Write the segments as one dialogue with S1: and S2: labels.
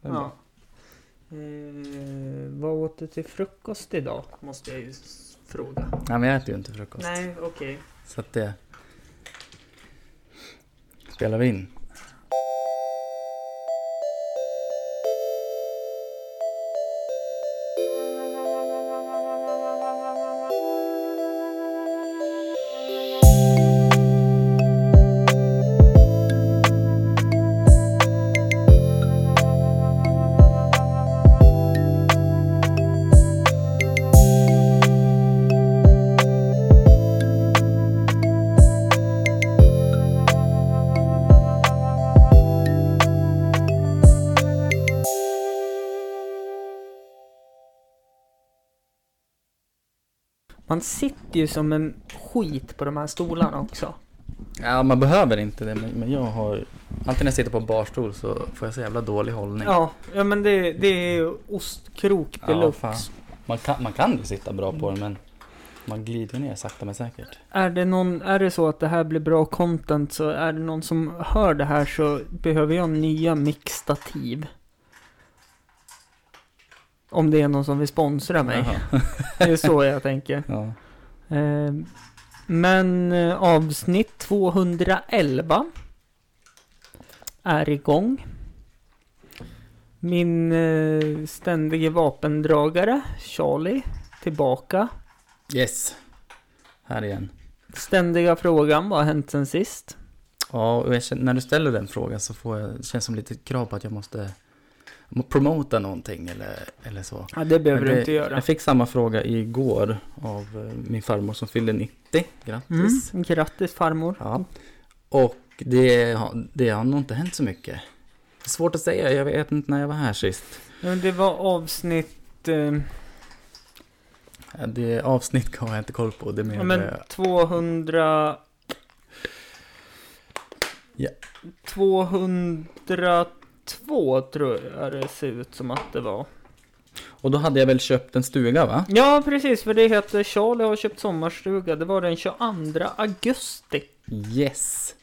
S1: Det
S2: ja.
S1: är bra.
S2: Eh, vad åt du till frukost idag? Måste jag ju s- fråga.
S1: Nej, men jag äter ju inte frukost.
S2: Nej, okej.
S1: Så att det... Spelar vi in?
S2: Man sitter ju som en skit på de här stolarna också.
S1: Ja, man behöver inte det, men, men jag har... Alltid när jag sitter på en barstol så får jag så jävla dålig hållning.
S2: Ja, ja men det, det är ju ostkrok
S1: Ja,
S2: deluxe.
S1: fan. Man, kan, man kan ju sitta bra på den, men man glider ner sakta men säkert.
S2: Är det, någon, är det så att det här blir bra content så är det någon som hör det här så behöver jag nya mixtativ. Om det är någon som vill sponsra mig.
S1: Jaha.
S2: Det är så jag tänker.
S1: Ja.
S2: Eh, Men eh, avsnitt 211 är igång. Min eh, ständige vapendragare Charlie tillbaka.
S1: Yes. Här igen.
S2: Ständiga frågan, vad har hänt sen sist?
S1: Ja, och jag känner, när du ställer den frågan så får jag, känns som lite krav på att jag måste må- promota någonting eller, eller så.
S2: Ja, det behöver
S1: Men
S2: du
S1: det-
S2: inte göra.
S1: Jag fick samma fråga igår av eh, min farmor som fyllde 90.
S2: Mm,
S1: Grattis!
S2: grattis farmor.
S1: Ja. Och det, har- det har nog inte hänt så mycket. Det är svårt att säga, jag vet inte när jag var här sist.
S2: Men Det var avsnitt eh,
S1: Ja, Det avsnitt har jag inte koll på. Det är mer,
S2: ja, men
S1: eh,
S2: 200...
S1: Ja.
S2: 202 tror jag det ser ut som att det var.
S1: Och då hade jag väl köpt en stuga va?
S2: Ja, precis, för det heter Charlie har köpt sommarstuga. Det var den 22 augusti.
S1: Yes!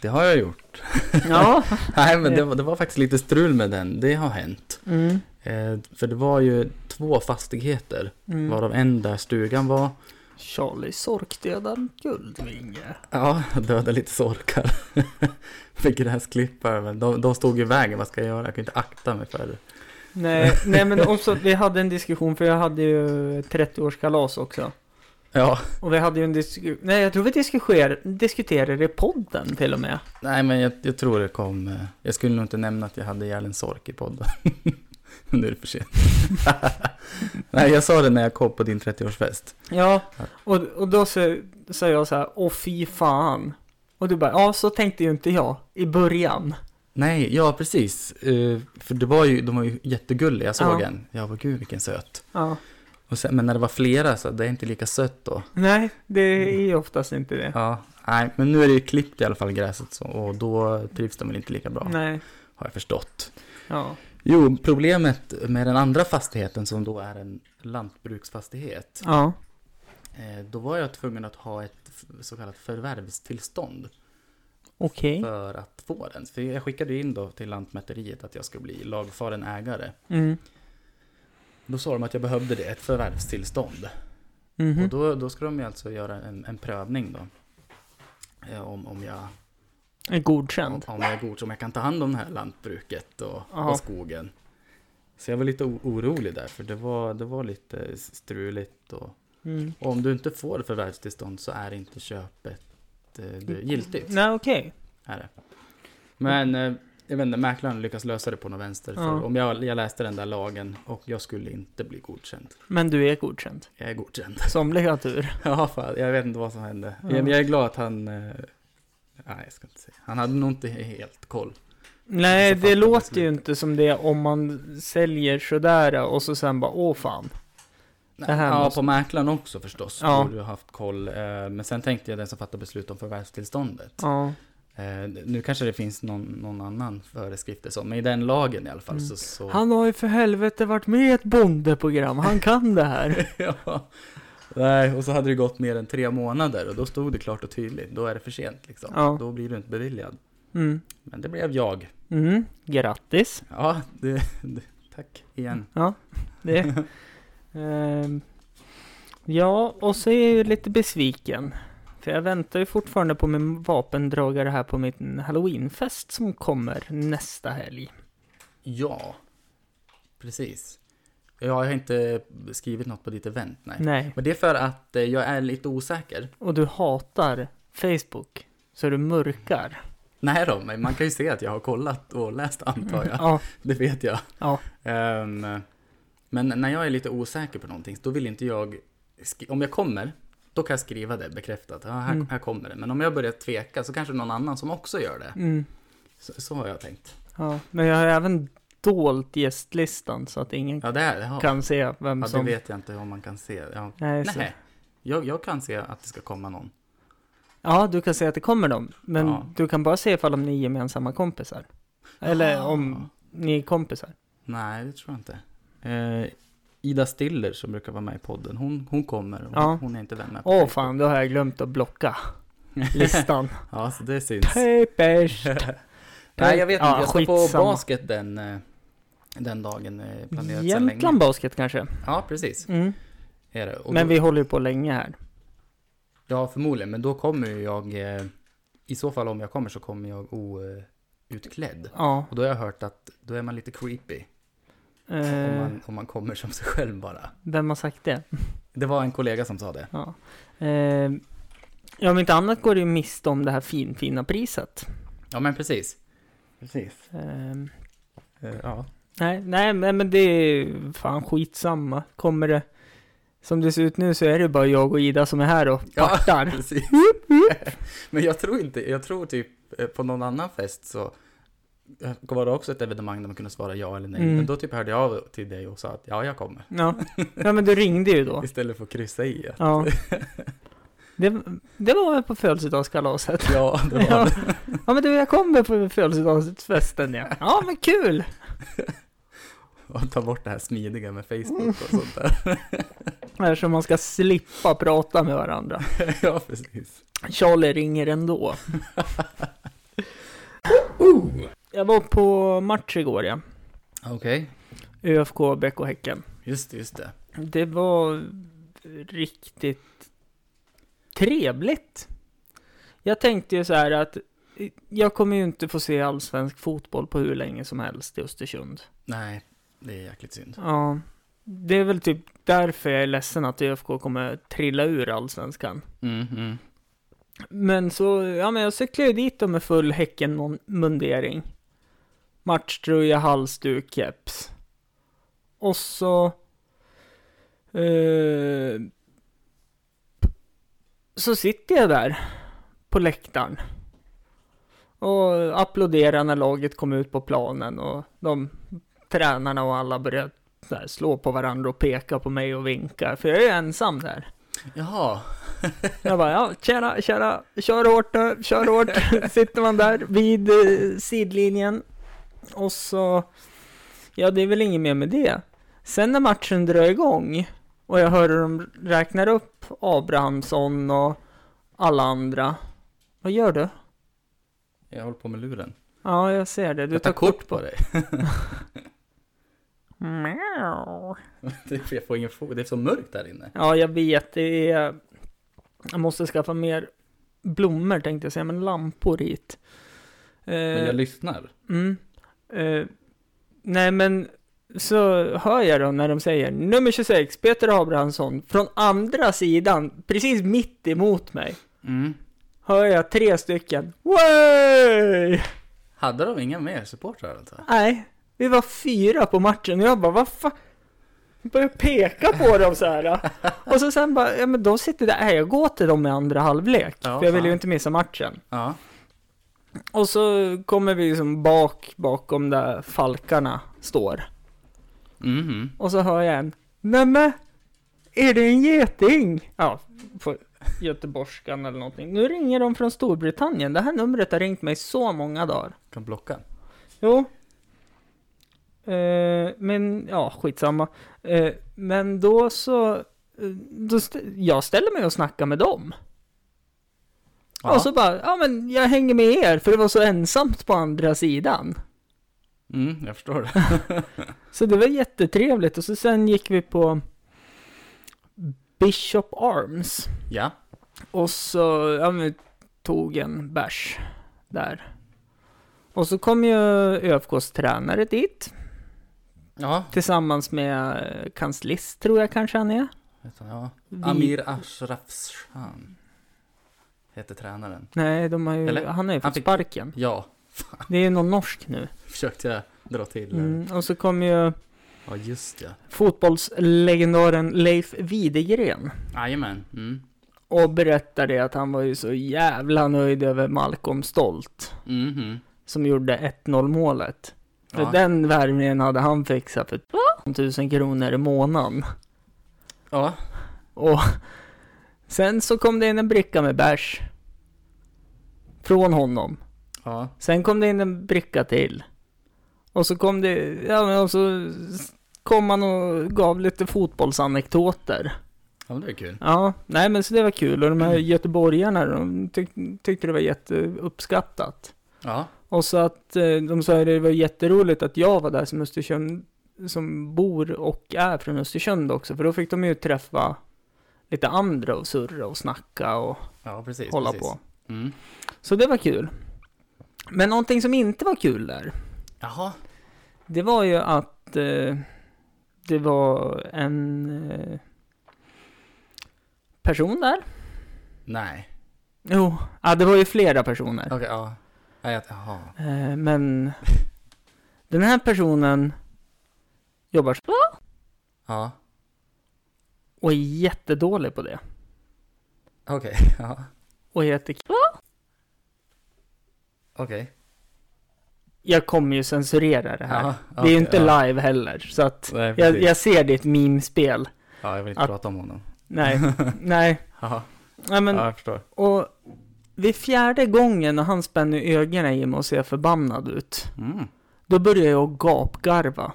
S1: Det har jag gjort.
S2: Ja.
S1: Nej men det
S2: Ja.
S1: var, det var faktiskt lite strul med den. Det har hänt.
S2: Mm.
S1: Eh, för det var ju två fastigheter,
S2: Mm.
S1: varav en där stugan var.
S2: Charlie sorkdödaren Guldvinge.
S1: Ja, döda lite sorkar. med gräsklippare, men de, de stod i vägen. Vad ska jag göra? Jag kunde inte akta mig för det.
S2: Nej, nej, men också vi hade en diskussion för jag hade ju 30-årskalas också.
S1: Ja,
S2: Och vi hade ju en diskussion, nej jag tror vi diskuter- diskuterade i podden till och med.
S1: nej men jag, jag tror det kom. eh, Jag skulle nog inte nämna att jag hade ihjäl en sork i podden. nu är det för sent. nej, jag sa det när jag kom på din 30-årsfest.
S2: Ja, och, och då sa sa jag så här, åh fy fan. Och du bara, ja så tänkte ju inte jag i början.
S1: Nej, ja precis. Eh, för det var ju, de var ju jättegulliga, jag såg
S2: Ja.
S1: en. Jag var gud vilken söt.
S2: Ja.
S1: Och sen, men när det var flera så det är inte lika sött då.
S2: Nej, det är
S1: Mm.
S2: ju oftast inte det.
S1: Ja, nej, men nu är det ju klippt i alla fall gräset så, och då trivs de väl inte lika bra,
S2: Nej,
S1: har jag förstått.
S2: ja.
S1: Jo, problemet med den andra fastigheten som då är en lantbruksfastighet,
S2: Ja,
S1: eh, då var jag tvungen att ha ett f- så kallat förvärvstillstånd
S2: okej.
S1: för att få den. För jag skickade ju in då till Lantmäteriet att jag skulle bli lagfaren ägare.
S2: Mm.
S1: Då sa de att jag behövde det, ett förvärvstillstånd.
S2: Mhm.
S1: Och då, då ska de ju alltså göra en, en prövning då. Eh, Om, om jag
S2: Är Godkänd.
S1: Om, om jag är god, om jag kan ta hand om det här lantbruket och,
S2: Jaha.
S1: och skogen. Så jag var lite o- orolig där, för det var, det var lite struligt. Och,
S2: Mm.
S1: och om du inte får förvärvstillstånd så är inte köpet eh, det- giltigt.
S2: Mm. Nej, okej.
S1: Är det. Men eh, jag vet inte, mäklaren lyckas lösa det på någon vänster. För
S2: Ja.
S1: om jag, jag läste den där lagen och jag skulle inte bli godkänd.
S2: Men du är godkänd.
S1: Jag är godkänd.
S2: Somliga har tur.
S1: ja, fan, jag vet inte vad som hände.
S2: Ja.
S1: Men jag är glad att han... Eh, nej, jag ska inte säga. Han hade nog inte helt koll.
S2: Nej,
S1: Så fattar
S2: det
S1: jag
S2: låter ju
S1: beslutet.
S2: inte som det om man säljer sådär och så sen bara, åh fan. Det här
S1: ja,
S2: måste-
S1: på mäklaren också förstås.
S2: Ja.
S1: Borde du ha haft koll. Eh, Men sen tänkte jag den som fattar beslut om förvärvstillståndet.
S2: Ja.
S1: Eh, Nu kanske det finns någon, någon annan föreskrift och så, men i den lagen i alla fall
S2: Mm.
S1: så... så...
S2: Han har ju för helvete varit med i ett bondeprogram, han kan det här.
S1: ja. Nej, och så hade det gått mer än tre månader och då stod det klart och tydligt. Då är det för sent liksom.
S2: Ja.
S1: Då blir du inte beviljad.
S2: Mm.
S1: Men det blev jag.
S2: Mm, grattis.
S1: Ja, det, det, tack
S2: Mm.
S1: igen.
S2: Det. Ehm, ja, och så är jag ju lite besviken. För jag väntar ju fortfarande på min vapendragare här på min halloweenfest som kommer nästa helg.
S1: Ja, precis. Jag har inte skrivit något på ditt event, nej.
S2: Nej,
S1: Men det är för att eh, jag är lite osäker.
S2: och du hatar Facebook. Så du mörkar.
S1: Nej då, men man kan ju se att jag har kollat och läst antar jag.
S2: Ja,
S1: Det vet jag.
S2: ja.
S1: Ehm, men när jag är lite osäker på någonting, då vill inte jag... skri- Om jag kommer, då kan jag skriva det bekräftat. Ja, här,
S2: Mm.
S1: här kommer det. Men om jag börjar tveka så kanske någon annan som också gör det.
S2: Mm,
S1: Så, så har jag tänkt.
S2: ja. Men jag har även dolt gästlistan så att ingen
S1: Ja, det är ja.
S2: kan se vem
S1: ja, det
S2: som...
S1: vet jag inte om man kan se. Ja.
S2: Nej, så...
S1: Nej, jag, jag kan se att det ska komma någon.
S2: Ja, du kan se att det kommer dem. Men
S1: Ja.
S2: du kan bara se ifall om ni är gemensamma kompisar. Eller
S1: Ah.
S2: om ni är kompisar.
S1: Nej, det tror jag inte. Eh, Ida Stiller som brukar vara med i podden, hon, hon kommer. Hon,
S2: Ja.
S1: hon är inte vän på
S2: Åh
S1: Facebook.
S2: fan, då har jag glömt att blocka listan.
S1: Ja, så det syns.
S2: Papers!
S1: Nej, jag vet inte.
S2: Ja,
S1: Jag ska på
S2: skitsamma.
S1: basket den, eh, den dagen eh, planerat sedan
S2: Jämtland
S1: länge.
S2: Basket kanske?
S1: Ja, precis.
S2: Mm.
S1: Är det. Och
S2: Men
S1: då,
S2: vi håller ju på länge här.
S1: Ja, förmodligen. Men då kommer ju jag... eh, I så fall om jag kommer så kommer jag outklädd.
S2: Ja.
S1: Och då har jag hört att då är man lite creepy. Om,
S2: Eh,
S1: man, om man kommer som sig själv bara.
S2: vem har sagt det?
S1: Det var en kollega som sa det.
S2: Ja. Eh, ja, om inte annat går det ju miste om det här finfina priset.
S1: Ja, men precis. Precis.
S2: Eh,
S1: Eh, Ja.
S2: Nej, nej, men men det är fan skitsamma. Kommer det... Som det ser ut nu så är det bara jag och Ida som är här och
S1: Ja.
S2: partar.
S1: Precis. Men jag tror inte, jag tror typ eh, på någon annan fest så eh, var det också ett evenemang där man kunde svara ja eller nej.
S2: Mm.
S1: Men då typ hörde jag av till dig och sa att ja, jag kommer.
S2: Ja. ja, men du ringde ju då.
S1: Istället för att kryssa i. att-
S2: Ja. Det, det var väl på födelsedagskalaset?
S1: Ja, det var
S2: Ja.
S1: det.
S2: ja, men du, jag kommer på födelsedagsfesten ja. Ja, men kul!
S1: Och ta bort det här smidiga med Facebook och sånt där.
S2: Här Så man ska slippa prata med varandra.
S1: Ja, precis.
S2: Charlie ringer ändå.
S1: Oh!
S2: Jag var på match igår ja.
S1: Okej,
S2: ÖFK, BK Häcken.
S1: just det, just det.
S2: Det var riktigt trevligt. Jag tänkte ju så här att jag kommer ju inte få se allsvensk fotboll på hur länge som helst i Östersund.
S1: Nej, det är jäkligt synd.
S2: Ja, det är väl typ därför jag är ledsen att ÖFK kommer trilla ur allsvenskan.
S1: Mm, mm.
S2: Men så, ja men jag cyklade ju dit då med full Häcken-mundering. Matchtröja, halsduk, keps. Och så... Eh, så sitter jag där på läktaren. Och applåderar när laget kom ut på planen och de tränarna och alla började så här slå på varandra och peka på mig och vinka. För jag är ju ensam där.
S1: Jaha,
S2: Jag bara, ja, tjena, tjena, kör hårt nu, kör hårt. Sitter man där vid eh, sidlinjen. Och så, ja det är väl inget mer med det. Sen när matchen drar igång och jag hör hur de räknar upp Abrahamsson och alla andra. Vad gör du?
S1: jag håller på med luren.
S2: Ja, jag ser det. Du
S1: jag tar kort på dig.
S2: Miau.
S1: Det- Jag får ingen fråga. Det är så mörkt där inne.
S2: Ja, jag vet. Det är... Jag måste skaffa mer blommor tänkte jag säga, men lampor hit. Eh,
S1: Men jag lyssnar.
S2: Mm. Eh, nej, men så hör jag då när de säger nummer 26, Peter Abrahamsson, från andra sidan, precis mitt emot mig,
S1: Mm.
S2: hör jag tre stycken. Way!
S1: Hade de inga mer supportrar alltså?
S2: Nej, vi var fyra på matchen och jag bara, vad fan? Började peka på dem så här. Och så sen bara, ja men de sitter där, nej jag går till dem i andra halvlek,
S1: Ja,
S2: för jag vill ju
S1: fan.
S2: inte missa matchen.
S1: Ja.
S2: Och så kommer vi liksom bak, bakom där Falkarna står.
S1: Mhm.
S2: Och så hör jag en Nämen! Är det en geting? Ja, på göteborgskan eller någonting. Nu ringer de från Storbritannien. Det här numret har ringt mig så många dagar.
S1: Kan blocka.
S2: Jo. Eh, men ja, skitsamma. Eh, men då så... eh, Då st- jag ställer mig och snackar med dem.
S1: Ja.
S2: Alltså- Och så bara, ja men jag hänger med er för det var så ensamt på andra sidan.
S1: Mm, jag förstår det.
S2: Så det var jättetrevligt och så sen gick vi på Bishop Arms
S1: Ja,
S2: och så ja, men, vi tog en bärs där. Och så kom ju ÖFKs tränare dit
S1: ja.
S2: tillsammans med eh, kanslist tror jag kanske han är.
S1: Vet han, ja.
S2: Vi-
S1: Amir Ashrafshan heter tränaren.
S2: Nej, de har ju,
S1: Eller?
S2: han har ju
S1: Han
S2: fått
S1: fick-
S2: sparken.
S1: Ja,
S2: Det är ju någon norsk nu.
S1: försökte jag dra till. Mm.
S2: Mm. Och så kom ju
S1: Ja, just ja.
S2: fotbollslegendaren Leif Widegren
S1: Jajamän. Mm.
S2: och berättade att han var ju så jävla nöjd över Malcolm Stolt
S1: Mhm.
S2: som gjorde 1-0 målet. För
S1: Ja.
S2: den värvningen hade han fixat för 1000 kronor i månaden.
S1: Ja,
S2: Och sen så kom det in en bricka med bärs. Från honom.
S1: ja.
S2: Sen kom det in en bricka till. Och så kom det, ja men och så kom han och gav lite fotbollsanekdoter.
S1: ja men det är kul.
S2: Ja, nej men så det var kul och de här göteborgarna de tyck, tyckte det var jätteuppskattat.
S1: Ja,
S2: Och så att eh, de sa att det var jätteroligt att jag var där som Östersund, som bor och är från Östersund också, för då fick de ju träffa lite andra och surra och snacka och
S1: ja precis.
S2: hålla
S1: precis.
S2: på.
S1: Mm.
S2: Så det var kul. Men någonting som inte var kul där,
S1: Jaha,
S2: Det var ju att eh, det var en eh, person där.
S1: nej.
S2: Jo, ja, det var ju flera personer.
S1: Okej, ja. Nej, jag- Jaha.
S2: Eh, men den här personen jobbar så-
S1: Ja,
S2: och är jättedålig på det.
S1: okej. Ja,
S2: Och heter
S1: okej.
S2: Jag kommer ju censurera det här.
S1: Ja,
S2: det är ju
S1: okej,
S2: inte
S1: ja.
S2: live heller, så att
S1: Nej,
S2: jag,
S1: precis.
S2: jag ser ditt meme-spel.
S1: Ja, jag vill inte
S2: att-
S1: prata om honom.
S2: Nej, nej.
S1: Jaha,
S2: Nej, men
S1: ja, jag förstår.
S2: Och vid fjärde gången och han spänner ögonen i mig och ser förbannad ut,
S1: Mm.
S2: då börjar jag gapgarva.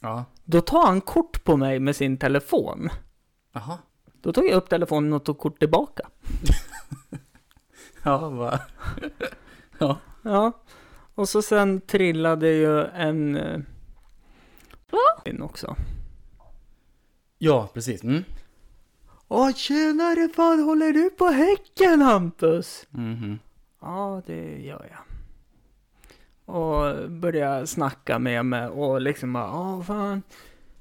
S1: Ja,
S2: Då tar han kort på mig med sin telefon.
S1: jaha.
S2: Då tog jag upp telefonen och tog kort tillbaka.
S1: Ja, va?
S2: Ja. Och så sen trillade ju en... eh, In också.
S1: Ja, precis. Mm.
S2: Åh tjenare fan, håller du på Häcken Hampus?
S1: Mhm.
S2: Ja, det gör jag. Och började snacka med mig och liksom bara, ja fan.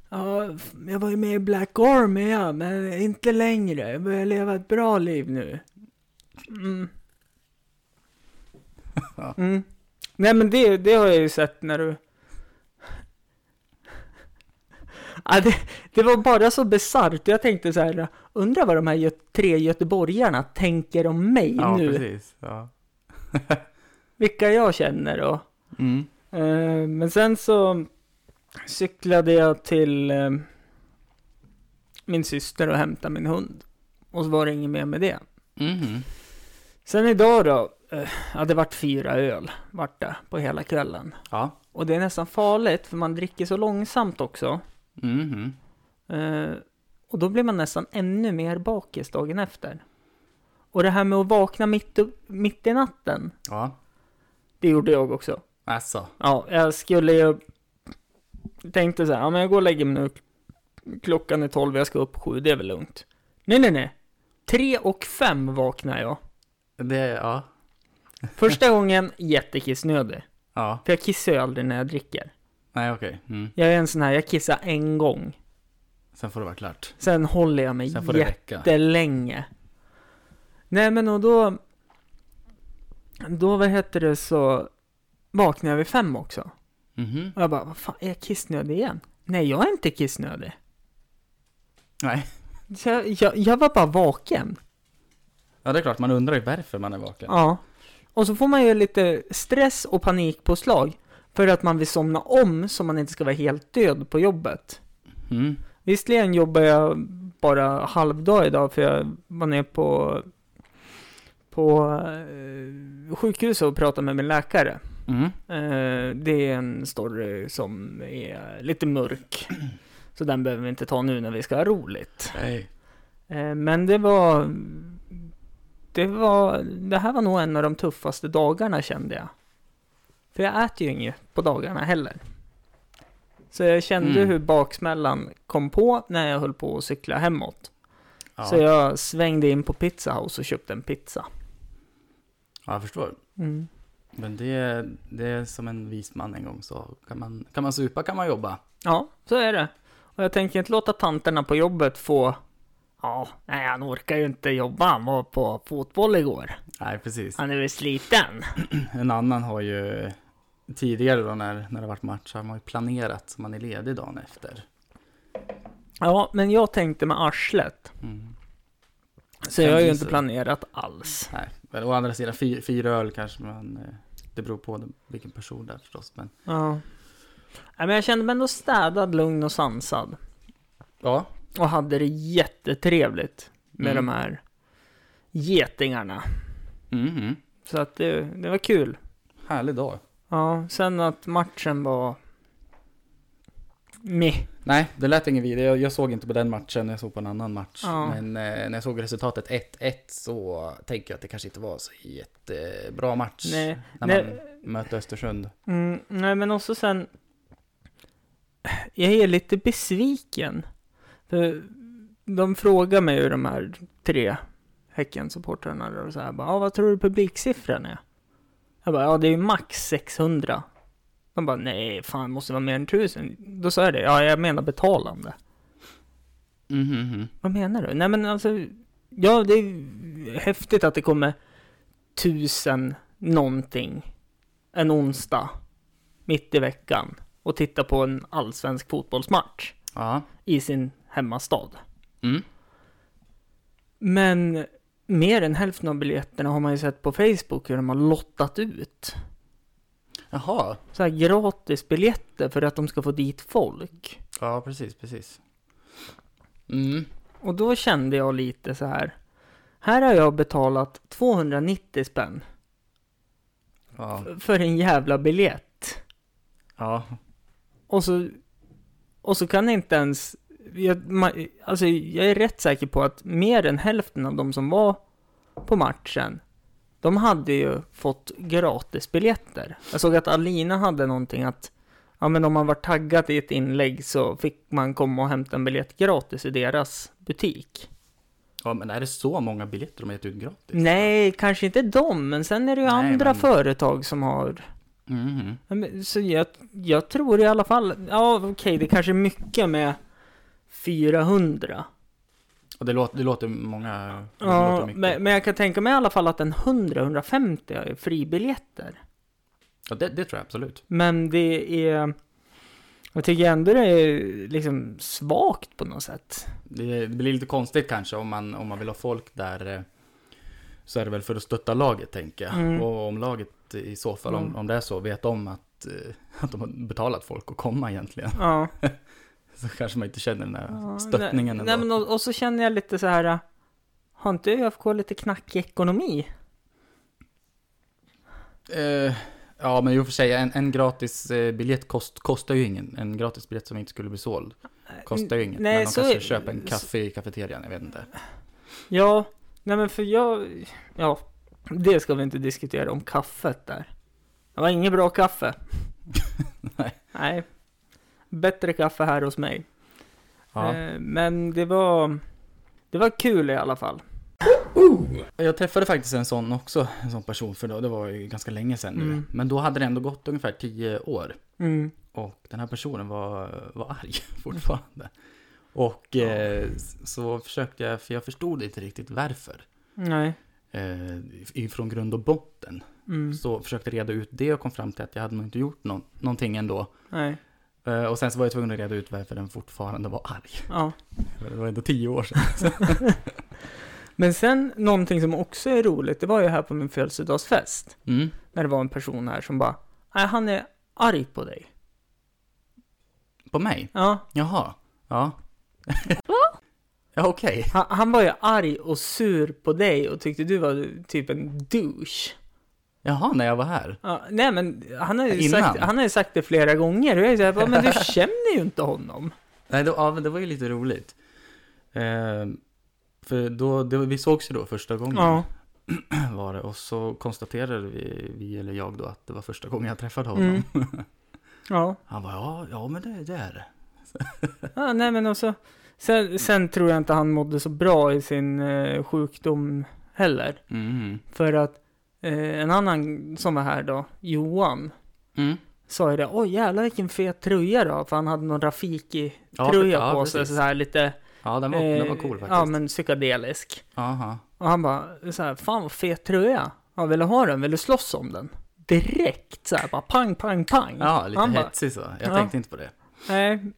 S2: Ja, f- jag var ju med i Black Army ja, men inte längre. Jag börjar leva ett bra liv nu. Mm.
S1: Ja.
S2: Mm. Nej men det, det har jag ju sett när du... Ja, det, det var bara så bisarrt. Jag tänkte så här, undrar vad de här gö- tre göteborgarna tänker om mig
S1: Ja,
S2: nu
S1: precis. Ja.
S2: vilka jag känner då.
S1: Mm.
S2: Eh, men sen så cyklade jag till eh, min syster och hämtade min hund. Och så var det inget mer med det.
S1: Mhm.
S2: Sen idag då, eh, ja det vart fyra öl, vart det, på hela kvällen.
S1: Ja.
S2: Och det är nästan farligt, för man dricker så långsamt också.
S1: Mhm.
S2: Eh, och då blir man nästan ännu mer bakis dagen efter. Och det här med att vakna mitt, upp, mitt i natten,
S1: Ja.
S2: det gjorde jag också.
S1: Alltså.
S2: Ja, jag skulle ju... Tänkte så här, ja men jag går och lägger mig nu. Klockan är tolv, jag ska upp sju, det är väl lugnt. Nej, nej, nej. Tre och fem vaknar jag.
S1: Det, ja.
S2: Första gången jättekissnödig.
S1: Ja.
S2: För jag kissar ju aldrig när jag dricker.
S1: Nej, okej. Mm.
S2: Jag är en sån här, jag kissar en gång.
S1: Sen får det vara klart.
S2: Sen håller jag mig
S1: Sen får det räcka.
S2: jättelänge. Nej men och då... Då, vad heter det, så vaknar jag vid fem också.
S1: Mhm.
S2: Och jag bara, vad fan, är jag kissnödig igen? Nej, jag är inte kissnödig.
S1: Nej.
S2: Så Jag, jag, jag var bara vaken.
S1: Ja, det är klart. Man undrar ju varför man är vaken.
S2: Ja. Och så får man ju lite stress och panikpåslag för att man vill somna om så man inte ska vara helt död på jobbet.
S1: Mm.
S2: Visserligen jobbar jag bara halvdag idag för jag var nere på, på eh, sjukhuset och pratade med min läkare.
S1: Mm.
S2: Eh, det är en story som är lite mörk. Så den behöver vi inte ta nu när vi ska ha roligt.
S1: Nej.
S2: Eh, Men det var, det var, det här var nog en av de tuffaste dagarna kände jag. För jag äter ju inget på dagarna heller. Så jag kände
S1: Mm.
S2: hur baksmällan kom på när jag höll på att cykla hemåt.
S1: Ja,
S2: Så jag svängde in på Pizza House och köpte en pizza.
S1: ja jag förstår.
S2: Mm.
S1: Men det, det är som en vis man en gång sa. Kan man, kan man supa kan man jobba.
S2: Ja, så är det. Och jag tänker inte låta tanterna på jobbet få... Ja, nej han orkar ju inte jobba. Han var på fotboll igår.
S1: Nej, precis.
S2: Han är väl sliten.
S1: En annan har ju tidigare då när, när det varit match, så har man ju planerat så man är ledig dagen efter.
S2: Ja, men jag tänkte med arslet.
S1: Mm.
S2: Så
S1: Kan
S2: jag har ju
S1: du
S2: inte
S1: se-
S2: planerat alls.
S1: Nej, men å andra sidan fy, fyra öl kanske man, eh, det beror på den- vilken person det är förstås. Men
S2: Ja. Nej, men jag kände mig ändå städad, lugn och sansad.
S1: ja,
S2: Och hade det jättetrevligt med
S1: Mm.
S2: de här getingarna.
S1: mhm.
S2: Så att det, det var kul.
S1: härlig dag.
S2: Ja, sen att matchen var... Meh.
S1: Nej, det lät ingen vidare. Jag, jag såg inte på den matchen, jag såg på en annan match.
S2: Ja.
S1: Men eh, när jag såg resultatet 1-1 så tänker jag att det kanske inte var så jättebra match.
S2: Nej.
S1: När
S2: Nej.
S1: man möter Östersund.
S2: Mm, nej, men också sen... Jag är lite besviken. För de frågar mig ju de här tre Häckensupportrarna och så här bara, ah, vad tror du publiksiffran är? Jag bara, ja det är ju max 600. De bara, nej fan det måste vara mer än 1000. Då sa jag det, ja jag menar betalande.
S1: Mhm.
S2: Vad menar du? Nej men alltså, ja det är häftigt att det kommer tusen någonting en onsdag mitt i veckan och titta på en allsvensk fotbollsmatch
S1: Ja.
S2: i sin hemmastad.
S1: Mm.
S2: Men mer än hälften av biljetterna har man ju sett på Facebook hur de har lottat ut.
S1: Jaha.
S2: Så här gratisbiljetter för att de ska få dit folk.
S1: Ja, precis, precis. Mm.
S2: Och då kände jag lite så här. Här har jag betalat 290 spänn
S1: Ja.
S2: för en jävla biljett.
S1: Ja.
S2: Och så, och så kan inte ens... Jag, man, alltså jag är rätt säker på att mer än hälften av de som var på matchen, de hade ju fått gratisbiljetter. Jag såg att Alina hade någonting att, ja men om man var taggad i ett inlägg så fick man komma och hämta en biljett gratis i deras butik.
S1: ja, men är det så många biljetter de har gett ut gratis?
S2: Nej, kanske inte de, men sen är det ju
S1: Nej,
S2: andra
S1: men-
S2: företag som har
S1: Mhm.
S2: Ja, men, Så jag, jag tror i alla fall, ja okej det kanske är mycket med 400.
S1: Och det låter, det låter många... Det låter
S2: Ja,
S1: mycket.
S2: men, men jag kan tänka mig i alla fall att en 100-150 är fribiljetter.
S1: Ja, det, det tror jag absolut.
S2: Men det är, jag tycker ändå det är liksom svagt på något sätt.
S1: Det, det blir lite konstigt kanske om man, om man vill ha folk där. eh, Så är det väl för att stötta laget tänker jag.
S2: Mm.
S1: Och om laget i så fall, om,
S2: Mm.
S1: om det är så, vet om att, eh, att de har betalat folk att komma egentligen.
S2: Ja.
S1: Så kanske man inte känner den där
S2: Ja,
S1: stöttningen
S2: nej, nej, men, och, och så känner jag lite så här, har inte ÖFK lite knackig ekonomi?
S1: Eh, ja, men i och för sig, en, en gratis eh, biljett kost, kostar ju ingen. En gratis biljett som inte skulle bli såld kostar ju inget.
S2: nej,
S1: men de
S2: så
S1: kanske
S2: är-
S1: köper en
S2: så-
S1: kaffe i kafeterian, jag vet inte.
S2: Ja, nej men för jag, ja, det ska vi inte diskutera om kaffet där. Det var inget bra kaffe.
S1: Nej.
S2: Nej. Bättre kaffe här hos mig.
S1: Ja.
S2: Eh, Men det var, det var kul i alla fall.
S1: Jag träffade faktiskt en sån också, en sån person, för då, det var ju ganska länge sedan nu.
S2: Mm.
S1: Men då hade det ändå gått ungefär tio år.
S2: Mm.
S1: Och den här personen var, var arg fortfarande. Och eh, så försökte jag, för jag förstod inte riktigt varför.
S2: Nej.
S1: Eh, ifrån grund och botten.
S2: Mm.
S1: Så försökte jag reda ut det och kom fram till att jag hade nog inte gjort någon, någonting ändå.
S2: Nej.
S1: Eh, och sen så var jag tvungen att reda ut varför den fortfarande var arg.
S2: Ja.
S1: Det var ändå tio år sedan.
S2: Men sen någonting som också är roligt, det var ju här på min födelsedagsfest.
S1: Mm.
S2: När det var en person här som bara, nej han är arg på dig.
S1: På mig?
S2: Ja,
S1: Jaha. Ja. ja, okej.
S2: Han, han var ju arg och sur på dig och tyckte du var typ en douche.
S1: Jaha, när jag var här.
S2: Ja, nej men han har, ju
S1: Innan.
S2: sagt, han har ju sagt det flera gånger och jag är såhär, men du känner ju inte honom.
S1: Nej, det, ja, men det var ju Ehm, lite roligt. Eh, för då, det, vi sågs ju då första gången. var det. Och så konstaterade vi, vi, eller jag då, att det var första gången jag träffade honom.
S2: Mm. Ja.
S1: Han var ja, ja men det, det är det.
S2: Ah, nej men också. Sen, sen tror jag inte han mådde så bra i sin eh, sjukdom heller.
S1: Mm.
S2: För att eh, en annan som var här då, Johan,
S1: Mm.
S2: sa ju det. Oj jävlar vilken fet tröja då. För han hade någon Rafiki-tröja
S1: Ja, ja,
S2: på sig.
S1: precis.
S2: Så här lite...
S1: Ja, den var, den var
S2: eh,
S1: cool
S2: Ja
S1: faktiskt.
S2: men psykedelisk.
S1: Aha.
S2: Och han bara så här, fan vad fet tröja. Jag vill du ha den? Vill du slåss om den? Direkt så här, bara pang, pang, pang.
S1: Ja, lite
S2: han bara,
S1: hetsig så. Jag
S2: Ja.
S1: tänkte inte på det.
S2: nej.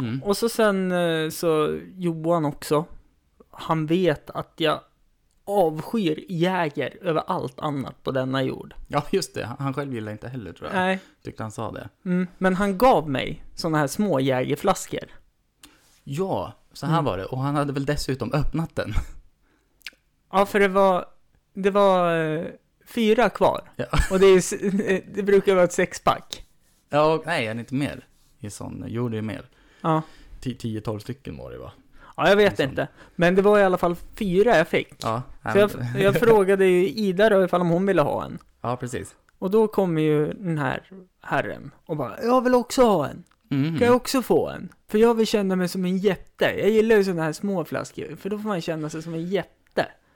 S1: Mm.
S2: Och så sen eh, så Johan också. Han vet att jag avskyr Jäger över allt annat på denna jord.
S1: Ja, just det. Han han själv gillade inte heller tror jag.
S2: Nej.
S1: Tyckte han sa det.
S2: Mm. Men han gav mig sådana här små Jägerflaskor.
S1: Ja, så här
S2: Mm.
S1: var det. Och han hade väl dessutom öppnat den.
S2: Ja, för det var, det var eh, fyra kvar.
S1: Ja.
S2: Och det, är, ju s- det brukar vara ett sexpack.
S1: Ja, och, nej, han är inte mer. I sån, jo, det är mer.
S2: Ja.
S1: 10-12 stycken var det va?
S2: ja, jag vet
S1: Liksom.
S2: inte. Men det var i alla fall fyra jag fick.
S1: Ja, nej,
S2: Så jag,
S1: men-
S2: jag frågade ju Ida då ifall om hon ville ha en.
S1: ja precis.
S2: Och då kommer ju den här herren och bara Jag vill också ha en,
S1: Mm.
S2: kan jag också få en? För jag vill känna mig som en jätte. Jag gillar ju sådana här små flaskor, för då får man känna sig som en jätte.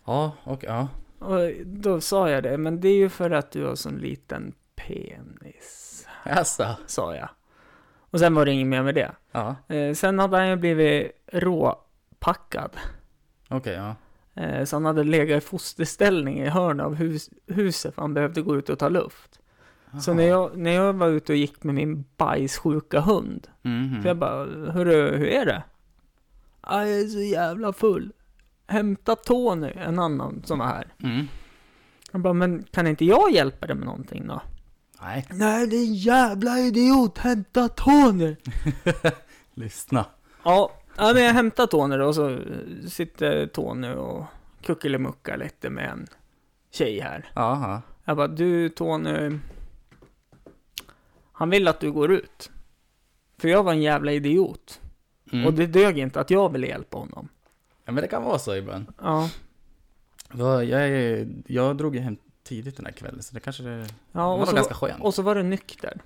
S1: Ja, och ja.
S2: Och då sa jag det, men det är ju för att du har sån liten penis,
S1: Jaså?
S2: sa jag. Och sen var det inget mer med det.
S1: Ja,
S2: Eh, sen hade han ju blivit råpackad.
S1: okej, ja.
S2: Eh, så han hade legat i fosterställning i hörnet av hus- huset, för han behövde gå ut och ta luft. Så
S1: Jaha.
S2: när jag, när jag var ute och gick med min bajssjuka hund,
S1: Mhm.
S2: så jag bara, hörru, hur är det? "Ah, Jag är så jävla full. Hämta Tony, en annan som var här.
S1: Mm.
S2: Han bara, men kan inte jag hjälpa dig med någonting då?
S1: Nej,
S2: Nej, din jävla idiot, hämta Tony!
S1: lyssna.
S2: Ja, ja men jag hämtar Tony då, och så sitter Tony och kuckelimuckar lite med en tjej här.
S1: Jaha.
S2: Jag bara, du Tony. Han vill att du går ut. För jag var en jävla idiot.
S1: Mm.
S2: Och det dög inte att jag ville hjälpa honom.
S1: Ja, men det kan vara så ibland.
S2: Ja,
S1: Jag, jag, är- jag drog ju hem tidigt den här kvällen, så det kanske det
S2: ja
S1: var
S2: och,
S1: nog
S2: så,
S1: ganska skönt.
S2: och så var du nykter.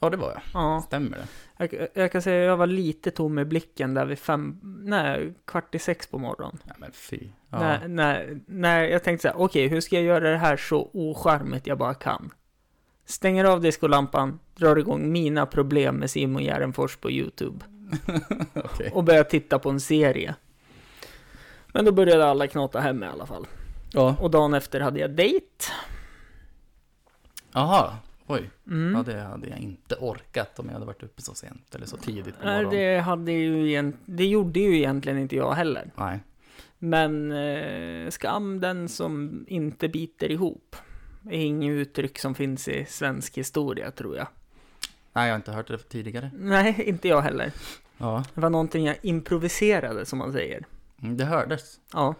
S1: Ja, det var jag.
S2: Ja,
S1: Stämmer det?
S2: jag, jag kan säga att jag var lite tom i blicken där vid fem, nej, kvart i sex på morgonen.
S1: Nej, men fy. Ja.
S2: När, när, när jag tänkte så här, okej, hur ska jag göra det här så ocharmigt jag bara kan? Stänger av diskolampan, drar igång mina problem med Simon Gärdenfors på YouTube.
S1: Okej.
S2: och började titta på en serie. Men då började alla knata hem i alla fall.
S1: Ja.
S2: Och dagen efter hade jag dejt.
S1: Jaha. Oj.
S2: Mm.
S1: Ja, det hade jag inte orkat om jag hade varit uppe så sent eller så tidigt på
S2: Nej,
S1: morgonen.
S2: det, hade ju egent... det gjorde ju egentligen inte jag heller.
S1: Nej.
S2: Men eh, skam den som inte biter ihop. är inget uttryck som finns i svensk historia tror jag.
S1: Nej, jag har inte hört det tidigare.
S2: Nej, inte jag heller.
S1: Ja,
S2: Det var någonting jag improviserade som man säger.
S1: Mm, det hördes.
S2: Ja.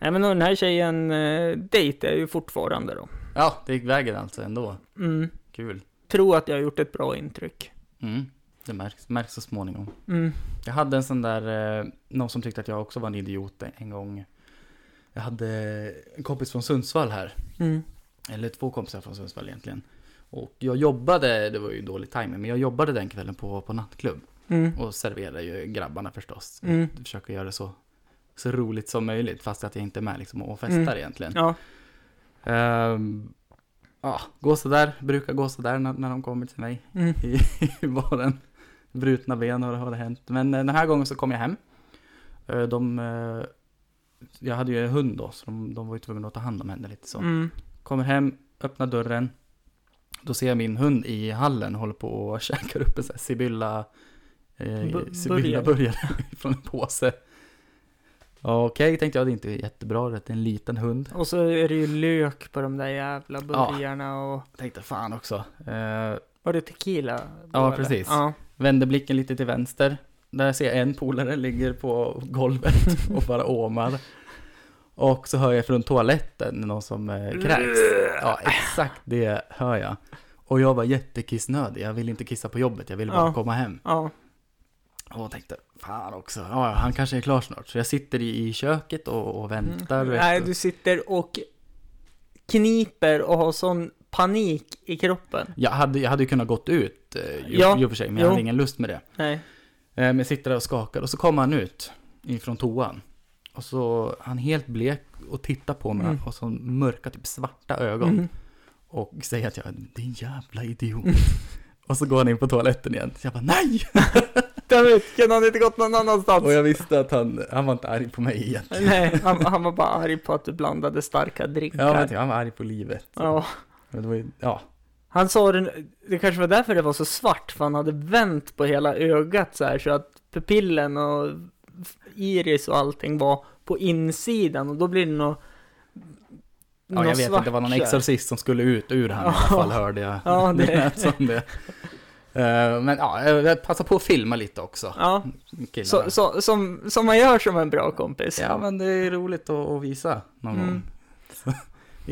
S2: Nej men den här tjejen eh, dejtar jag ju fortfarande då.
S1: Ja, det gick vägen alltså ändå.
S2: Mm.
S1: Kul.
S2: Tror att jag har gjort ett bra intryck.
S1: Mm. Det märks, märks så småningom.
S2: Mm.
S1: Jag hade en sån där, eh, någon som tyckte att jag också var en idiot en gång. Jag hade en kompis från Sundsvall här.
S2: Mm.
S1: Eller två kompisar från Sundsvall egentligen. Och jag jobbade, det var ju dålig timing, men jag jobbade den kvällen på, på nattklubb.
S2: Mm.
S1: Och serverade ju grabbarna förstås.
S2: Mm.
S1: Jag försöker göra det så, så roligt som möjligt, fast att jag inte är med liksom och festar
S2: Mm.
S1: egentligen.
S2: Ja.
S1: Ehm, ja, gå sådär, brukar gå sådär när, när de kommer till mig
S2: Mm.
S1: i, i baren. Brutna ben har, har det hänt. Men eh, den här gången så kom jag hem. Eh, de, eh, jag hade ju en hund då, så de, de var ju tvungna att ta hand om henne lite så.
S2: Mm.
S1: Kommer hem, öppnar dörren. Då ser jag min hund i hallen håller på och käkar upp en sån här Sibylla, eh,
S2: Bu-
S1: Sibylla burgare från en påse. Ja, Okej, tänkte jag, det är inte jättebra, det är en liten hund.
S2: Och så är det ju lök på de där jävla burgarna och...
S1: Jag tänkte fan också. Eh,
S2: Var det tequila? då,
S1: Ja,
S2: eller?
S1: precis.
S2: Ja.
S1: Vänder blicken lite till vänster. Där ser jag en polare ligger på golvet och bara åmar. Och så hör jag från toaletten någon som eh,
S2: Mm.
S1: kräks. Ja, exakt det hör jag. Och jag var jättekissnödig. Jag ville inte kissa på jobbet, jag ville bara
S2: Ja.
S1: komma hem.
S2: Ja.
S1: Och jag tänkte, fan också, ja, ja, han kanske är klar snart. Så jag sitter i, i köket och, och väntar. vet
S2: Mm. Nej, du sitter och kniper och har sån panik i kroppen.
S1: Jag hade, jag hade ju kunnat gått ut eh, ju,
S2: Ja,
S1: ju för sig, men jag
S2: jo.
S1: hade ingen lust med det.
S2: Nej.
S1: Eh, men jag sitter där och skakar och så kommer han ut ifrån toan. Och så han är helt blek och tittar på mig
S2: Mm.
S1: och så mörka, typ svarta ögon.
S2: Mm.
S1: Och säger att jag är en jävla idiot. och så går han in på toaletten igen. Så jag bara nej!
S2: Däremot kunde han inte gått någon annanstans.
S1: Och jag visste att han, han var inte arg på mig egentligen.
S2: Nej, han, han var bara arg på att du blandade starka
S1: Ja,
S2: drinkar.
S1: men typ. han var arg på livet.
S2: ja.
S1: Men det var ju, ja.
S2: Han sa den, det kanske var därför det var så svart, för han hade vänt på hela ögat så här, så att pupillen och iris och allting var på insidan och då blir det nog...
S1: Ja, jag vet att det var någon exorcist som skulle ut ur han i alla fall, hörde jag.
S2: Ja, det-
S1: det lät som det. Eh, Men ja, jag passar på att filma lite också.
S2: Ja,
S1: killarna.
S2: så, så, som, som man gör som en bra kompis.
S1: Ja, men det är roligt att, att visa någon
S2: Mm.
S1: gång. Så,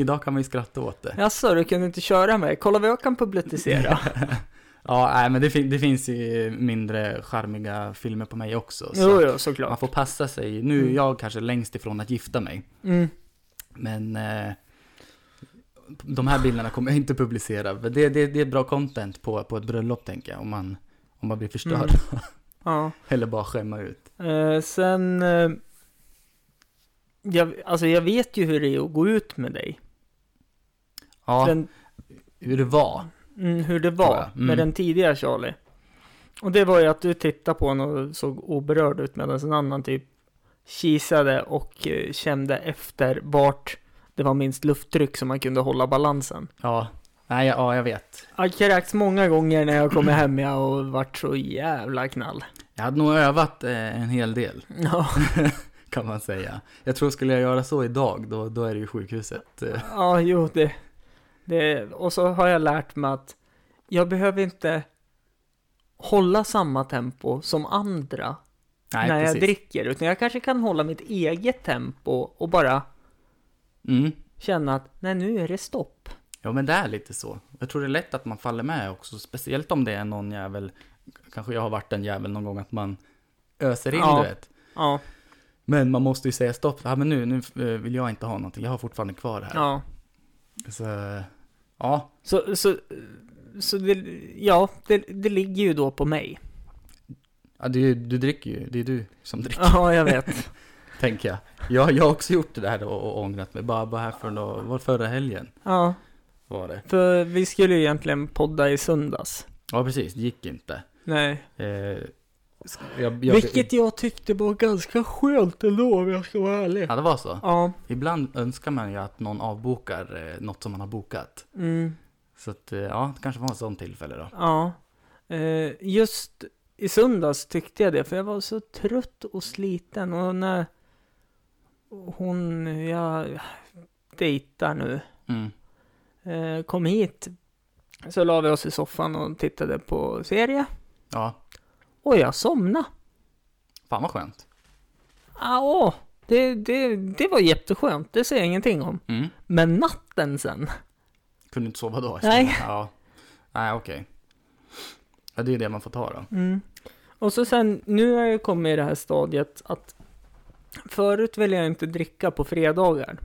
S1: idag kan vi skratta åt det.
S2: Jaså, du kunde inte köra mig? Kolla vad jag kan publicera.
S1: Ja, nej, men det, fin- det finns ju mindre charmiga filmer på mig också. Så
S2: jo, jo,
S1: man
S2: såklart.
S1: får passa sig. Nu är
S2: Mm.
S1: jag kanske längst ifrån att gifta mig.
S2: Mm.
S1: Men eh, de här bilderna kommer jag inte publicera. För det, det, det är bra content på, på ett bröllop, tänker jag. Om man, om man blir förstörd.
S2: Mm. Ja.
S1: Eller bara skämma ut.
S2: Eh, sen... Eh, jag, alltså jag vet ju hur det är att gå ut med dig.
S1: Ja,
S2: Den,
S1: hur det var.
S2: mm, hur det
S1: Tror
S2: var
S1: jag. Mm.
S2: med den tidiga Charlie. Och det var ju att du tittade på honom och såg oberörd ut medan en annan typ kisade och eh, kände efter vart det var minst lufttryck så man kunde hålla balansen.
S1: Ja, nej, ja, jag vet.
S2: Jag kräks många gånger när jag kommer hem jag och varit så jävla knall.
S1: Jag hade nog övat eh, en hel del.
S2: Ja,
S1: kan man säga. Jag tror skulle jag göra så idag, då, då är det ju sjukhuset. eh,
S2: ja jo det, det... Och så har jag lärt mig att jag behöver inte hålla samma tempo som andra när jag dricker, utan jag kanske kan hålla mitt eget tempo och bara
S1: Mm.
S2: känna att nej, nu är det stopp.
S1: Ja, men det är lite så. Jag tror det är lätt att man faller med också, speciellt om det är någon jävel, kanske jag har varit en jävel någon gång, att man öser in,
S2: Ja.
S1: du vet.
S2: Ja,
S1: Men man måste ju säga stopp, ja, men nu, nu eh, vill jag inte ha någonting, jag har fortfarande kvar här.
S2: ja.
S1: Så, ja,
S2: Så, så, så det, ja, det, det ligger ju då på mig.
S1: ja du, du dricker ju, det är du som dricker,
S2: Ja, jag vet.
S1: tänker jag. jag. Jag har också gjort det där och, och ångrat mig, bara, bara här för då, var förra helgen
S2: Ja,
S1: var det.
S2: för vi skulle ju egentligen podda i söndags.
S1: Ja, precis, det gick inte.
S2: Nej.
S1: Eh, sk- jag, jag,
S2: Vilket jag tyckte var ganska skönt ändå om jag ska vara ärlig.
S1: Ja, det var så.
S2: Ja.
S1: Ibland önskar man ju att någon avbokar eh, något som man har bokat.
S2: Mm,
S1: Så att, eh, ja, det kanske var ett sånt tillfälle då.
S2: ja. Eh, just i söndags tyckte jag det, för jag var så trött och sliten och när hon jag dejtar nu
S1: Mm.
S2: eh, kom hit så la vi oss i soffan och tittade på serie
S1: Ja,
S2: och jag somnade.
S1: fan vad skönt.
S2: Ah, åh, det, det, det var jätteskönt, det säger jag ingenting om.
S1: Mm.
S2: Men natten sen,
S1: Kunde inte sova då?
S2: Nej.
S1: istället. Ja. Nej, okej. Ja, det är det man får ta då.
S2: Mm. Och så sen, nu har jag kommit i det här stadiet att förut ville jag inte dricka på fredagar.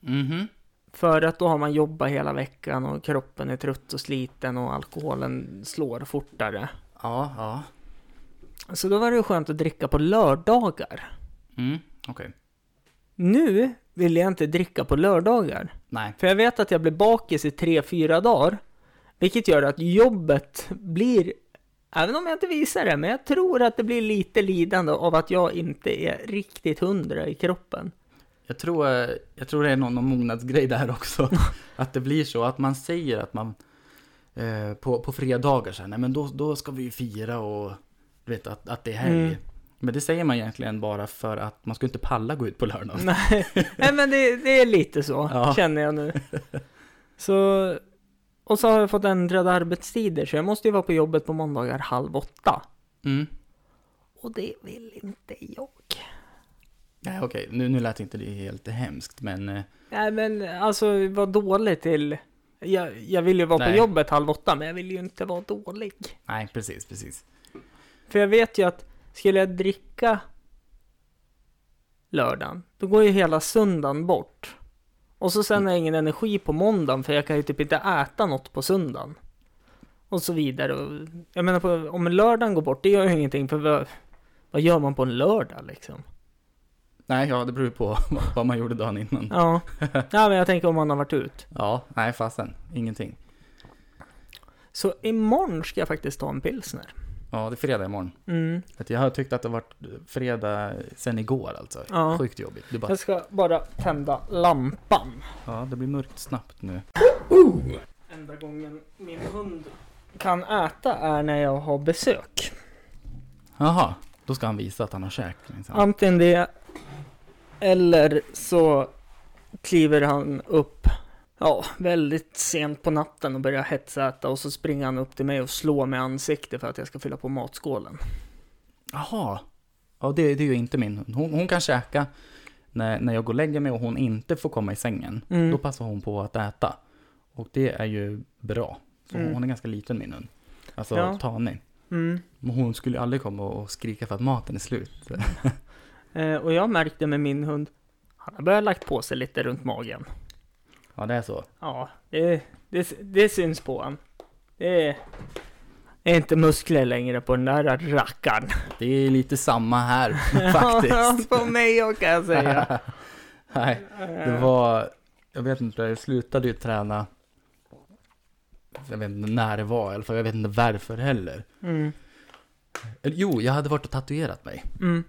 S1: Mhm.
S2: För att då har man jobbat hela veckan och kroppen är trött och sliten och alkoholen slår fortare.
S1: Ja, ja.
S2: Så då var det ju skönt att dricka på lördagar.
S1: Mm, okej.
S2: Nu vill jag inte dricka på lördagar.
S1: Nej.
S2: För jag vet att jag blir bakis i tre, fyra dagar. Vilket gör att jobbet blir, även om jag inte visar det, men jag tror att det blir lite lidande av att jag inte är riktigt hundra i kroppen.
S1: Jag tror, eh, jag tror det är någon, någon mognadsgrej där också. Att det blir så att man säger att man eh, på, på fredagar så här, nej men då, då ska vi ju fira och du vet att, att det är helg.
S2: Mm.
S1: Men det säger man egentligen bara för att man ska inte palla gå ut på lördagen.
S2: Nej, nej men det, det är lite så,
S1: Ja.
S2: känner jag nu. Så, och så har jag fått ändrade arbetstider, så jag måste ju vara på jobbet på måndagar halv åtta.
S1: Mm.
S2: Och det vill inte jag.
S1: Nej okej, nu, nu lät inte det helt hemskt men eh,
S2: Nej men alltså, var dålig till... Jag, jag vill ju vara
S1: Nej.
S2: på jobbet halv åtta, men jag vill ju inte vara dålig.
S1: nej precis, precis.
S2: För jag vet ju att skulle jag dricka lördagen, då går ju hela söndagen bort. Och så sen har jag ingen energi på måndagen för jag kan ju typ inte äta något på söndagen. Och så vidare. Och Jag menar, på, om lördagen går bort, det gör ju ingenting för vad, vad gör man på en lördag liksom?
S1: Nej, ja det beror ju på vad man gjorde dagen innan.
S2: Ja, ja men jag tänker om man har varit ut.
S1: Ja, nej fasen. Ingenting.
S2: Så imorgon ska jag faktiskt ta en pilsner.
S1: Ja, det är fredag imorgon.
S2: Mm.
S1: Vet du, Jag har tyckt att det har varit fredag sen igår alltså.
S2: Ja.
S1: Sjukt jobbigt. Det, är bara,
S2: Jag ska bara tända lampan.
S1: ja, det blir mörkt snabbt nu.
S2: Enda gången min hund kan äta är när jag har besök.
S1: Jaha, då ska han visa att han har käkat. Liksom.
S2: Antingen det, eller så kliver han upp ja, väldigt sent på natten och börjar hetsäta och så springer han upp till mig och slår mig i ansiktet för att jag ska fylla på matskålen.
S1: Jaha. Ja, det, det är ju inte min hund. Hon, hon kan käka när, när jag går och lägger mig och hon inte får komma i sängen.
S2: Mm.
S1: Då passar hon på att äta. Och det är ju bra. Så
S2: Mm.
S1: hon är ganska liten min hund. Alltså
S2: Ja.
S1: tanig.
S2: Mm.
S1: Men hon skulle ju aldrig komma och skrika för att maten är slut.
S2: Eh, och jag märkte med min hund, han har börjat lagt på sig lite runt magen.
S1: Ja, det är så.
S2: Ja, det, det, det syns på honom. Det är, det är inte muskler längre på den där rackaren.
S1: Det är lite samma här faktiskt.
S2: på mig också kan jag säga.
S1: Nej, det var, jag vet inte, jag slutade ju träna. Jag vet inte när det var i alla fall, jag vet inte varför heller.
S2: Mm.
S1: Eller, jo, jag hade varit och tatuerat mig.
S2: Mm.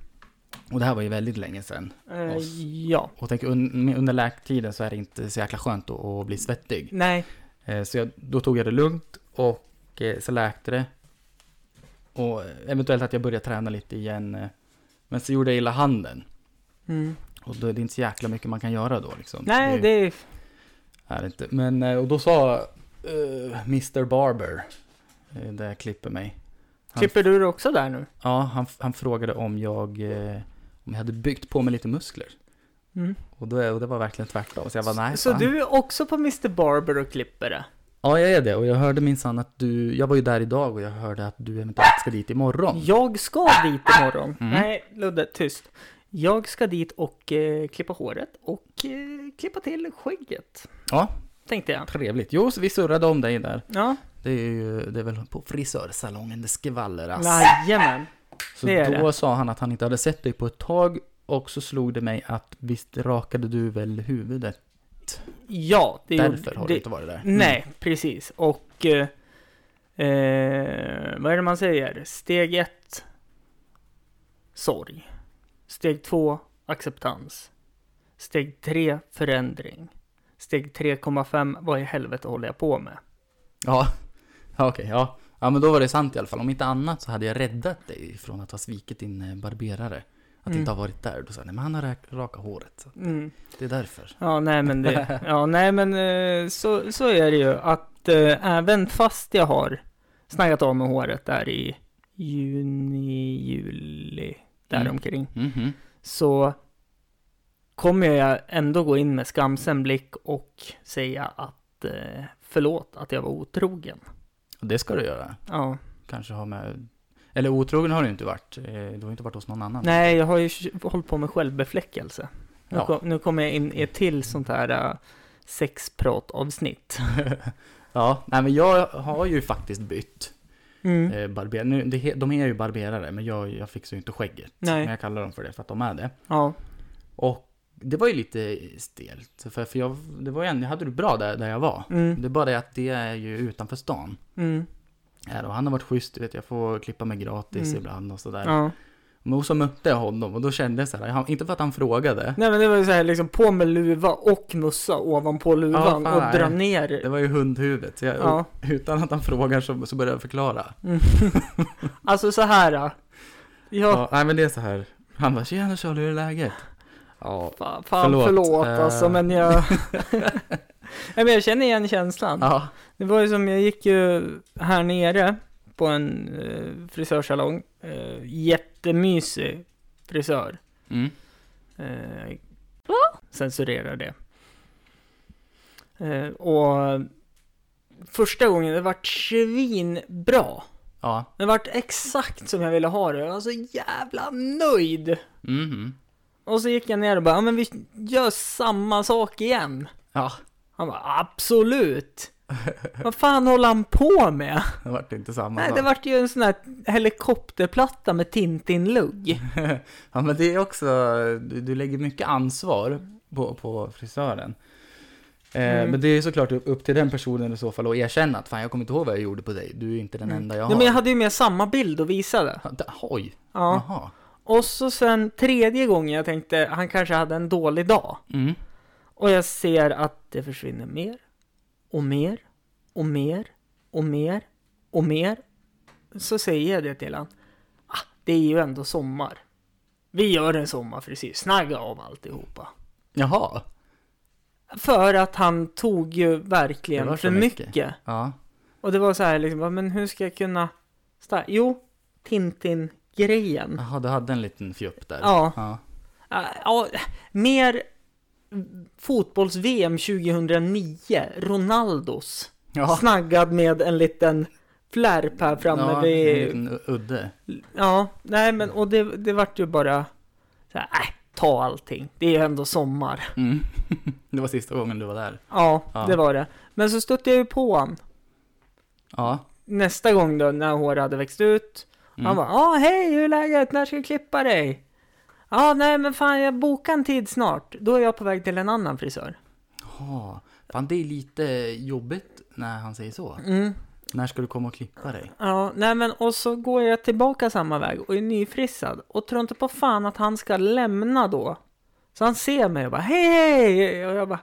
S1: Och det här var ju väldigt länge sedan.
S2: Eh,
S1: Oss.
S2: ja.
S1: Och tänk, un, under läktiden så är det inte så jäkla skönt att, att bli svettig.
S2: Nej.
S1: Eh, Så jag, då tog jag det lugnt och eh, så läkte det. Och eventuellt att jag började träna lite igen. eh. Men så gjorde jag illa handen.
S2: Mm.
S1: Och då är det inte så jäkla mycket man kan göra då liksom.
S2: Nej, det är...
S1: är det inte. Men, eh, och då sa eh, Mr Barber, eh, där jag klipper mig. Han-
S2: Klipper du det också där nu?
S1: Ja, han, han frågade om jag, eh, om jag hade byggt på mig lite muskler.
S2: Mm.
S1: Och, då, och det var verkligen tvärtom. Så jag var nej
S2: Så
S1: fan.
S2: du är också på Mr Barber och klipper eh? det?
S1: Ja, jag är det. Och jag hörde minsann att du, jag var ju där idag och jag hörde att du eventuellt ska dit imorgon.
S2: Jag ska dit imorgon.
S1: Mm.
S2: Nej, Ludde, tyst. Jag ska dit och eh, klippa håret och eh, klippa till skägget,
S1: Ja,
S2: tänkte jag.
S1: trevligt. Jo, så vi surrade om dig där.
S2: Ja,
S1: Det är ju, det är väl på frisörsalongen det skvallras.
S2: jajamän.
S1: Så
S2: det är
S1: då sa han att han inte hade sett dig på ett tag och så slog det mig att visst rakade du väl huvudet?
S2: Ja, det
S1: Därför har
S2: det,
S1: du inte varit där.
S2: Nej, precis. Och eh, eh, vad är det man säger? Steg ett, sorg. Steg två, acceptans. Steg tre, förändring. Steg 3,5, vad i helvete håller jag på med?
S1: Ja, ja okej, ja. Ja men då var det sant i alla fall. Om inte annat så hade jag räddat dig från att ha svikit din eh, barberare. Att inte ha varit där. Då sa jag, nej men han har rak- rakat håret. Så
S2: Mm.
S1: det är därför.
S2: Ja, nej men det, ja, nej men eh, så, så är det ju att eh, även fast jag har snaggat av med håret där i juni, juli, däromkring.
S1: Mhm.
S2: så kommer jag ändå gå in med skamsen blick och säga att eh, förlåt att jag var otrogen.
S1: Och det ska du göra.
S2: Ja.
S1: Kanske ha med... Eller otrogen har du inte varit. Eh, Du har inte varit hos någon annan.
S2: Nej, jag har ju hållit på med självbefläckelse. Nu,
S1: Ja.
S2: kom, nu kommer jag in i ett till sånt här eh, sexpratavsnitt.
S1: Ja, nej men jag har ju faktiskt bytt
S2: Mm.
S1: eh, barberare. Nu, det, he- de är ju barberare, men jag, jag fixar ju inte skägget.
S2: Nej.
S1: Men jag kallar dem för det för att de är det.
S2: Ja.
S1: Och det var ju lite stelt. För, för jag, det var ju ändå, jag hade det bra där, där jag var.
S2: Mm.
S1: Det är bara det att det är ju utanför stan.
S2: Mm.
S1: Här, och han har varit schysst, du vet, jag får klippa mig gratis
S2: Mm.
S1: ibland och sådär.
S2: ja. Men
S1: Men så mötte jag honom och då kände jag så här, han, inte för att han frågade.
S2: Nej men det var ju så här liksom på med luva och mussa ovanpå luvan
S1: fan,
S2: och dra
S1: nej. Det
S2: ner.
S1: var ju hundhuvudet. Så jag,
S2: Ja. Mm.
S1: Utan att han frågar så, så började jag förklara.
S2: Alltså så här. eh,
S1: Ja.
S2: Jag
S1: nej men det är så här. Han bara, tjena Charlie, hur är läget? Ja,
S2: Fan, fan förlåt,
S1: Förlåt, eh.
S2: alltså, men jag... Nej, men jag känner igen känslan.
S1: ja.
S2: Det var ju som, jag gick ju här nere på en eh, frisörsalong. Eh, jättemysig frisör.
S1: Mm.
S2: Eh, censurerar det. Eh, och första gången, det vart svinbra.
S1: Ja.
S2: Men vart exakt som jag ville ha det. Jag var så jävla nöjd.
S1: Mhm.
S2: Och så gick jag ner och bara, ja men vi gör samma sak igen.
S1: Ja,
S2: Han bara, absolut. Vad fan håller han på med?
S1: det vart inte samma
S2: Nej,
S1: sak.
S2: det vart ju en sån här helikopterplatta med Tintin-lugg.
S1: Ja, men det är också, du, du lägger mycket ansvar på, på frisören. Eh,
S2: Mm.
S1: Men det är såklart upp upp till den personen i så fall att erkänna att fan jag kommer inte ihåg vad jag gjorde på dig, du är inte den enda jag har.
S2: Mm. Nej, men jag hade ju med samma bild och visade.
S1: Ja, det- Oj,
S2: Ja.
S1: jaha.
S2: Och så sen tredje gången jag tänkte, han kanske hade en dålig dag.
S1: Mm.
S2: Och jag ser att det försvinner mer och mer och mer och mer och mer. Så säger jag det till han. Ah, det är ju ändå sommar. Vi gör en sommarfrisyr, snagga av alltihopa.
S1: Jaha.
S2: För att han tog ju
S1: Det
S2: verkligen
S1: var
S2: för
S1: så
S2: mycket.
S1: mycket. Ja.
S2: Och det var så här liksom, bara, men hur ska jag kunna... sta- Jo, Tintin-grejen.
S1: Jaha, du hade en liten fjupp där.
S2: Ja.
S1: ja.
S2: Ah, Ja, mer fotbolls-VM 2009, Ronaldos.
S1: Ja.
S2: snaggad med en liten flärp här framme
S1: ja, en
S2: vid...
S1: liten udde.
S2: Ja, nej men och det, det vart ju bara så här, äh, ta allting. Det är ju ändå sommar.
S1: Mm. det var sista gången du var där.
S2: Ja,
S1: Ja.
S2: det var det. Men så stötte jag ju på han
S1: Ja.
S2: nästa gång då när håret hade växt ut.
S1: Mm.
S2: Han bara, ja hej hur är läget, när ska jag klippa dig? Ja, nej men fan jag bokar en tid snart. Då är jag på väg till en annan frisör.
S1: Ja. Fan, det är lite jobbigt när han säger så.
S2: Mm.
S1: När ska du komma och klippa dig?
S2: Ja, nej men och så går jag tillbaka samma väg och är nyfrissad och tror inte på fan att han ska lämna då. Så han ser mig och bara hej hej och jag bara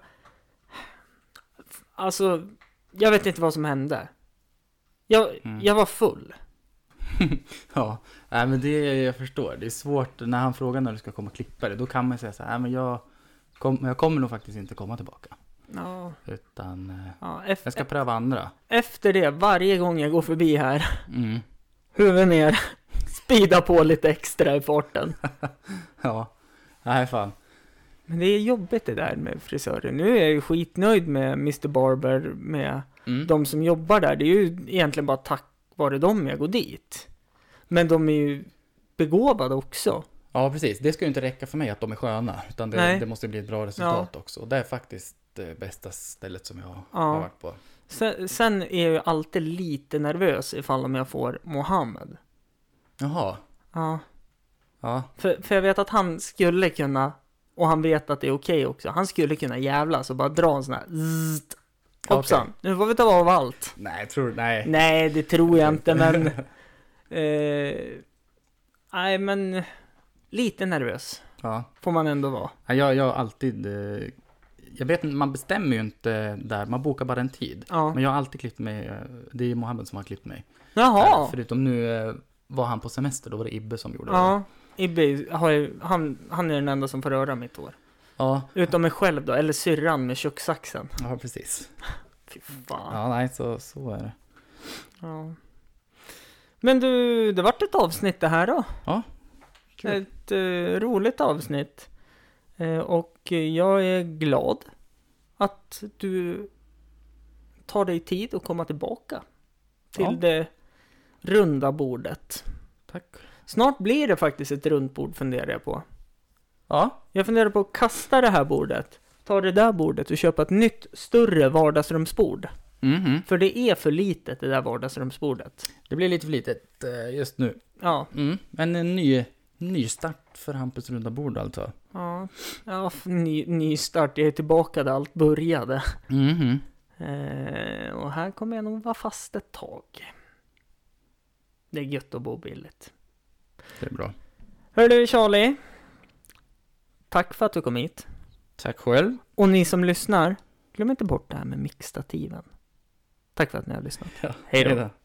S2: Alltså, jag vet inte vad som hände. Jag,
S1: Mm.
S2: jag var full.
S1: Ja, nej, men det är- jag förstår. Det är svårt när han frågar när du ska komma och klippa dig. Då kan man säga så här, nej, men jag, kom, jag kommer nog faktiskt inte komma tillbaka.
S2: Ja,
S1: Utan eh,
S2: ja, ef-
S1: jag ska pröva andra.
S2: Efter det, varje gång jag går förbi här,
S1: Mm.
S2: huvud ner, speeda på lite extra i farten.
S1: Ja, nej fan.
S2: Men det är jobbigt det där med frisörer. Nu är jag ju skitnöjd med Mr Barber, med
S1: Mm.
S2: de som jobbar där, det är ju egentligen bara tack vare dem jag går dit. Men de är ju begåvade också.
S1: Ja, precis. Det ska ju inte räcka för mig att de är sköna. Utan det,
S2: Nej.
S1: det måste bli ett bra resultat också. Och det är faktiskt det bästa stället som jag har varit på.
S2: Sen, sen är jag ju alltid lite nervös ifall om jag får Mohammed.
S1: Jaha,
S2: Ja.
S1: ja.
S2: För, för jag vet att han skulle kunna, och han vet att det är okej också, han skulle kunna jävlas och bara dra en sån här zzzt. Hoppsan, nu får vi ta av allt.
S1: Nej, tror du? Nej.
S2: Nej, det tror jag inte, men... Eh, nej, men... Lite nervös
S1: Ja.
S2: får man ändå vara.
S1: Nej, Jag, jag har alltid... eh, Jag vet inte, man bestämmer ju inte där. Man bokar bara en tid.
S2: Ja.
S1: Men jag har alltid klippt mig, eh, det är Mohammed som har klippt mig.
S2: Jaha!
S1: Eh, Förutom nu eh, var han på semester, då var det Ibbe som gjorde det.
S2: Ja, Ibbe har ju, han, han är den enda som får röra mitt hår.
S1: Ja,
S2: Utom mig själv då, eller syrran med kökssaxen.
S1: ja precis.
S2: Fy fan.
S1: Ja, nej, så, så är det.
S2: Ja. Men du, det vart ett avsnitt det här då.
S1: Ja, kul.
S2: Ett eh, roligt avsnitt. Eh, och eh, jag är glad att du tar dig tid att komma tillbaka till
S1: Ja.
S2: det runda bordet.
S1: Tack.
S2: Snart blir det faktiskt ett runt bord funderar jag på.
S1: Ja,
S2: Jag funderar på att kasta det här bordet, ta det där bordet och köpa ett nytt större vardagsrumsbord.
S1: mhm.
S2: För det är för litet det där vardagsrumsbordet.
S1: det blir lite för litet eh, just nu.
S2: Ja,
S1: Mm. Men en ny, ny start för Hampus runda bord alltså.
S2: ja, ja f- ny, ny start. Jag är tillbaka där allt började.
S1: Mhm.
S2: Eh, och här kommer jag nog vara fast ett tag. Det är gött att bo billigt.
S1: Det är bra.
S2: Hör du Charlie? Tack för att du kom hit.
S1: Tack själv.
S2: Och ni som lyssnar, glöm inte bort det här med mixstativen. Tack för att ni har lyssnat.
S1: Ja,
S2: Hej då.
S1: hej då.